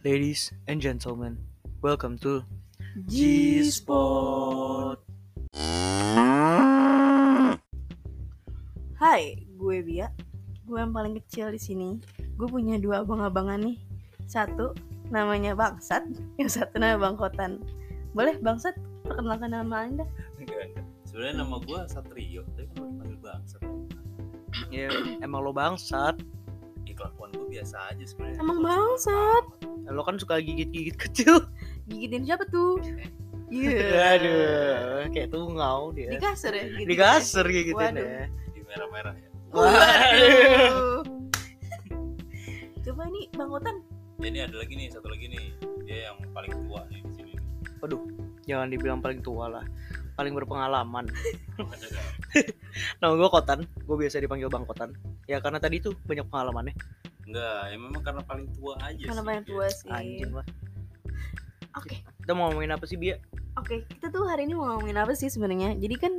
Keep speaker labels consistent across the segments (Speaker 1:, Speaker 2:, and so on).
Speaker 1: Ladies and gentlemen, welcome to
Speaker 2: G-Spot. Hai, gue Bia. Gue yang paling kecil di sini. Gue punya dua abang-abangan nih. Satu namanya Bangsat, yang satu namanya Bang Kotan. Boleh Bangsat perkenalkan nama Anda?
Speaker 3: Enggak, enggak. Sebenarnya nama
Speaker 2: Hmm.
Speaker 3: gue Satrio, tapi kalau dipanggil Bang Satrio.
Speaker 1: Ya, emang lo bangsat.
Speaker 3: Ya, kelakuan gue biasa aja sebenarnya.
Speaker 2: Emang Bangsat.
Speaker 1: Lo kan suka gigit-gigit kecil.
Speaker 2: Gigitin siapa tuh? Iya.
Speaker 1: Aduh, kayak tungau
Speaker 2: Di
Speaker 1: dia.
Speaker 2: kasur ya? gigitin
Speaker 1: Di kasur
Speaker 2: ya?
Speaker 1: gigitin
Speaker 2: Waduh.
Speaker 1: ya.
Speaker 3: Di merah-merah ya.
Speaker 1: Waduh.
Speaker 2: Waduh. Coba nih Bang Kotan.
Speaker 3: Jadi ada lagi nih, satu lagi nih. Dia yang paling tua nih di sini.
Speaker 1: Jangan dibilang paling tua lah. Paling berpengalaman.
Speaker 3: Ada nggak?
Speaker 1: Nah, gue Kotan. Gue biasa dipanggil Bang Kotan. Ya karena tadi tuh banyak pengalamannya.
Speaker 3: Enggak, ya memang karena paling tua aja
Speaker 2: Karena
Speaker 3: sih ya.
Speaker 2: paling
Speaker 3: dia.
Speaker 2: tua sih.
Speaker 1: Anjing lah.
Speaker 2: Oke.
Speaker 1: Kita mau ngomongin apa sih, ya? Bia?
Speaker 2: Oke, kita tuh hari ini mau ngomongin apa sih sebenarnya? Jadi kan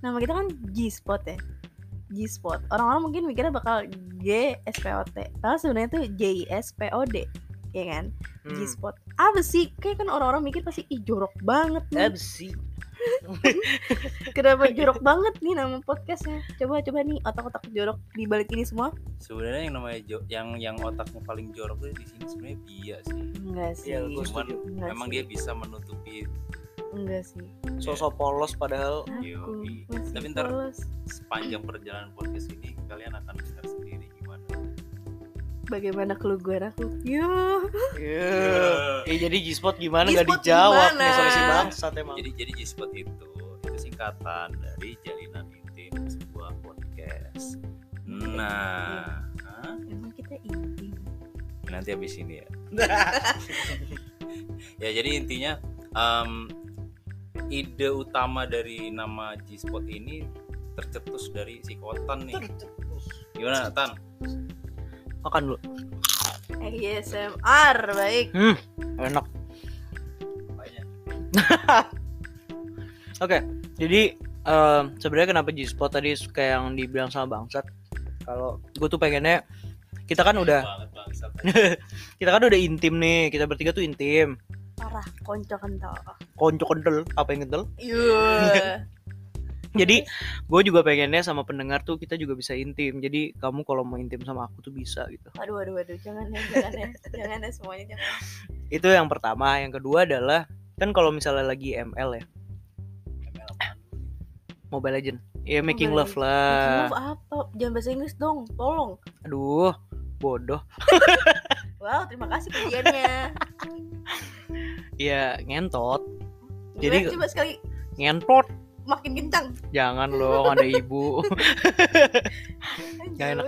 Speaker 2: nama kita kan G-Spot ya. G-Spot. Orang-orang mungkin mikirnya bakal G S P O T. Padahal sebenarnya tuh J I S P O D. Ya kan?
Speaker 1: Hmm.
Speaker 2: G-Spot. Apa sih? Kayak kan orang-orang mikir pasti ih jorok banget nih.
Speaker 1: Absi.
Speaker 2: Kenapa jorok banget nih nama podcastnya? Coba coba nih otak-otak jorok di balik ini semua.
Speaker 3: Sebenarnya yang namanya jo- yang yang otaknya paling jorok tuh di sini sebenarnya dia sih.
Speaker 2: Enggak sih.
Speaker 1: Iya, gue
Speaker 3: Cuman
Speaker 1: setuju.
Speaker 2: Enggak
Speaker 3: Memang
Speaker 2: sih.
Speaker 3: dia bisa menutupi
Speaker 2: enggak sih.
Speaker 1: Sosok polos padahal
Speaker 2: Aku
Speaker 3: Yoi.
Speaker 2: masih
Speaker 3: Tapi ntar-
Speaker 2: polos.
Speaker 3: sepanjang perjalanan podcast ini kalian akan dengar sendiri gimana.
Speaker 2: Bagaimana keluguan aku? Ya.
Speaker 1: Iya. Eh, jadi G-Spot gimana nggak
Speaker 2: G-Spot
Speaker 1: dijawab
Speaker 2: gimana?
Speaker 1: nih sama si bangsat emang.
Speaker 3: Jadi jadi G-Spot itu itu singkatan dari jalinan intim sebuah podcast. Nah, Hah?
Speaker 2: Emang kita inti.
Speaker 3: nanti habis ini ya. Ya jadi intinya em, ide utama dari nama G-Spot ini tercetus dari si Kotan nih. Gimana Tan?
Speaker 1: Iya. Makan dulu.
Speaker 2: ASMR baik.
Speaker 1: Hmm, enak.
Speaker 3: Apanya?
Speaker 1: Oke, jadi em, sebenarnya kenapa G-Spot tadi kayak yang dibilang sama bangsat? Kalau gue tuh pengennya kita kan udah
Speaker 3: Banget bangsat.
Speaker 1: kita kan udah intim nih kita bertiga tuh intim
Speaker 2: Parah, konco kental.
Speaker 1: konco kental apa yang kental
Speaker 2: Iya.
Speaker 1: jadi gue juga pengennya sama pendengar tuh kita juga bisa intim jadi kamu kalau mau intim sama aku tuh bisa gitu
Speaker 2: Aduh, aduh, aduh, jangan ya, jangan ya, jangan ya semuanya jangan.
Speaker 1: itu yang pertama yang kedua adalah kan kalau misalnya lagi ML ya
Speaker 3: Emel apaan?
Speaker 1: Mobile Legend ya making
Speaker 2: Mobile
Speaker 1: love lah
Speaker 2: Maaf apa? Jangan bahasa Inggris dong, tolong.
Speaker 1: aduh bodoh
Speaker 2: Wow, terima kasih kajiannya.
Speaker 1: ya ngentot Jadi-
Speaker 2: Jadi coba sekali
Speaker 1: ngentot
Speaker 2: makin kencang.
Speaker 1: jangan loh ada ibu Nggak enak.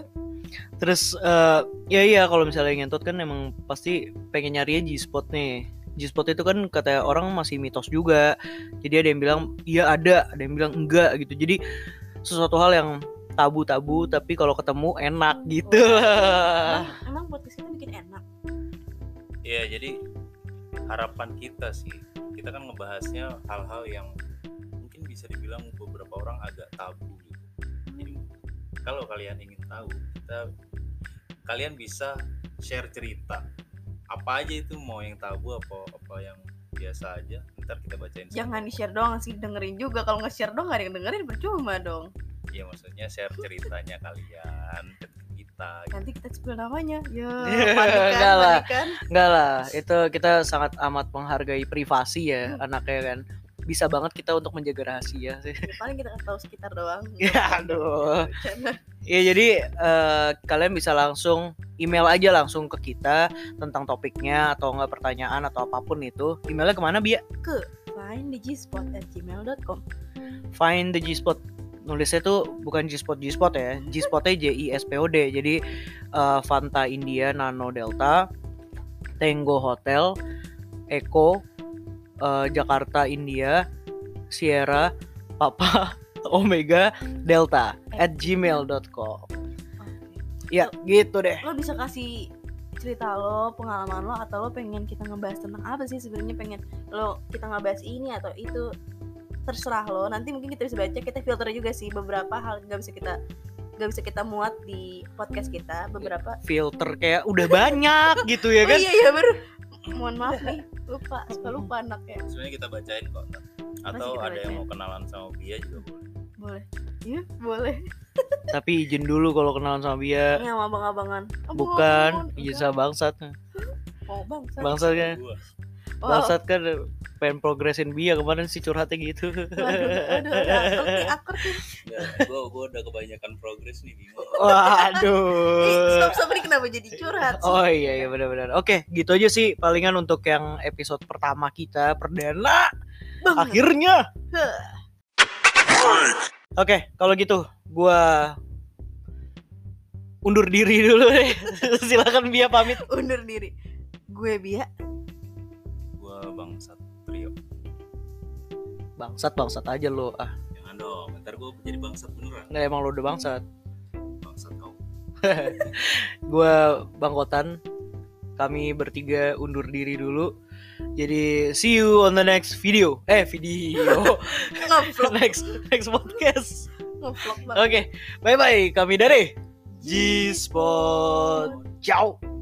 Speaker 1: Terus eh, ya iya kalau misalnya ngentot kan emang pasti pengen nyari G-spot nih. G-spot itu kan kata orang masih mitos juga. Jadi ada yang bilang iya ada, ada yang bilang enggak gitu. Jadi sesuatu hal yang tabu-tabu tapi kalau ketemu enak gitu.
Speaker 2: Emang, emang podcast kita bikin enak.
Speaker 3: Iya jadi harapan kita sih kita kan ngebahasnya hal-hal yang mungkin bisa dibilang beberapa orang agak tabu gitu. Jadi kalau kalian ingin tahu kita kalian bisa share cerita apa aja itu mau yang tabu apa apa yang biasa aja ntar kita bacain semua.
Speaker 2: Jangan di share doang sih, dengerin juga. Kalau nggak share doang nggak ada yang dengerin, percuma dong.
Speaker 3: Iya maksudnya share ceritanya kalian ke kita gitu.
Speaker 2: Nanti kita spill namanya. Ya,
Speaker 1: Enggak
Speaker 2: panikan,
Speaker 1: lah.
Speaker 2: panikan.
Speaker 1: Enggak lah, itu kita sangat amat menghargai privasi ya anaknya kan. Bisa banget kita untuk menjaga rahasia sih.
Speaker 2: Ya, paling kita kasih tahu sekitar doang.
Speaker 1: Ya aduh.
Speaker 2: Bercanda.
Speaker 1: Ya jadi eh, kalian bisa langsung email aja langsung ke kita tentang topiknya atau enggak pertanyaan atau apapun itu. Emailnya kemana Bia?
Speaker 2: find gmail.com
Speaker 1: Find the G-spot. Nulisnya tuh bukan G-spot G-spot ya. G-spotnya J I S P O D. Jadi eh, Fanta India Nano Delta Tango Hotel Eko eh, Jakarta India Sierra Papa Omega Delta at gmail.com Ya gitu deh
Speaker 2: lo bisa kasih cerita lo pengalaman lo atau lo pengen kita ngebahas tentang apa sih sebenarnya pengen lo kita ngebahas ini atau itu terserah lo nanti mungkin kita bisa baca kita filter juga sih beberapa hal nggak bisa kita nggak bisa kita muat di podcast kita beberapa
Speaker 1: filter kayak udah banyak gitu ya
Speaker 2: oh
Speaker 1: kan
Speaker 2: iya iya baru mohon maaf nih lupa suka lupa anak ya
Speaker 3: sebenarnya kita bacain kok ntar. atau
Speaker 2: kita
Speaker 3: ada yang
Speaker 2: bacain?
Speaker 3: mau kenalan sama Bia juga boleh
Speaker 2: boleh iya boleh
Speaker 1: Tapi izin dulu kalau kenalan sama Bia.
Speaker 2: ini sama abang-abangan Abang,
Speaker 1: Bukan,
Speaker 2: abang,
Speaker 1: izin sama bangsat.
Speaker 2: oh bang saya-
Speaker 1: Bangsat kan,
Speaker 3: Gua.
Speaker 2: Wow.
Speaker 1: bangsat kan pengen progresin Bia kemarin si curhatnya gitu.
Speaker 2: Waduh, waduh, udah akur nih, akur nih.
Speaker 3: ya gua gua udah kebanyakan progres nih Bima
Speaker 1: Oh.
Speaker 2: Ih,
Speaker 1: Waduh.
Speaker 2: stop stop ini kenapa jadi curhat sih?
Speaker 1: Oh iya iya benar-benar. Oke, gitu aja sih palingan untuk yang episode pertama kita perdana
Speaker 2: Bang,
Speaker 1: akhirnya. Oke, kalau gitu gua undur diri dulu deh. Silakan Bia pamit.
Speaker 2: undur diri. Gue Bia.
Speaker 3: gua bang Satrio
Speaker 1: Bangsat bangsat aja lo. Ah,
Speaker 3: jangan dong ntar gua jadi bangsat beneran
Speaker 1: nggak emang lo udah bangsat.
Speaker 3: bangsat kau
Speaker 1: Gua Bang Kotan. Kami bertiga undur diri dulu. Jadi see you on the next video. Eh, video.
Speaker 2: Ngevlog,
Speaker 1: next next podcast.
Speaker 2: ngevlog banget.
Speaker 1: Oke, bye bye. Kami dari G Spot. Ciao.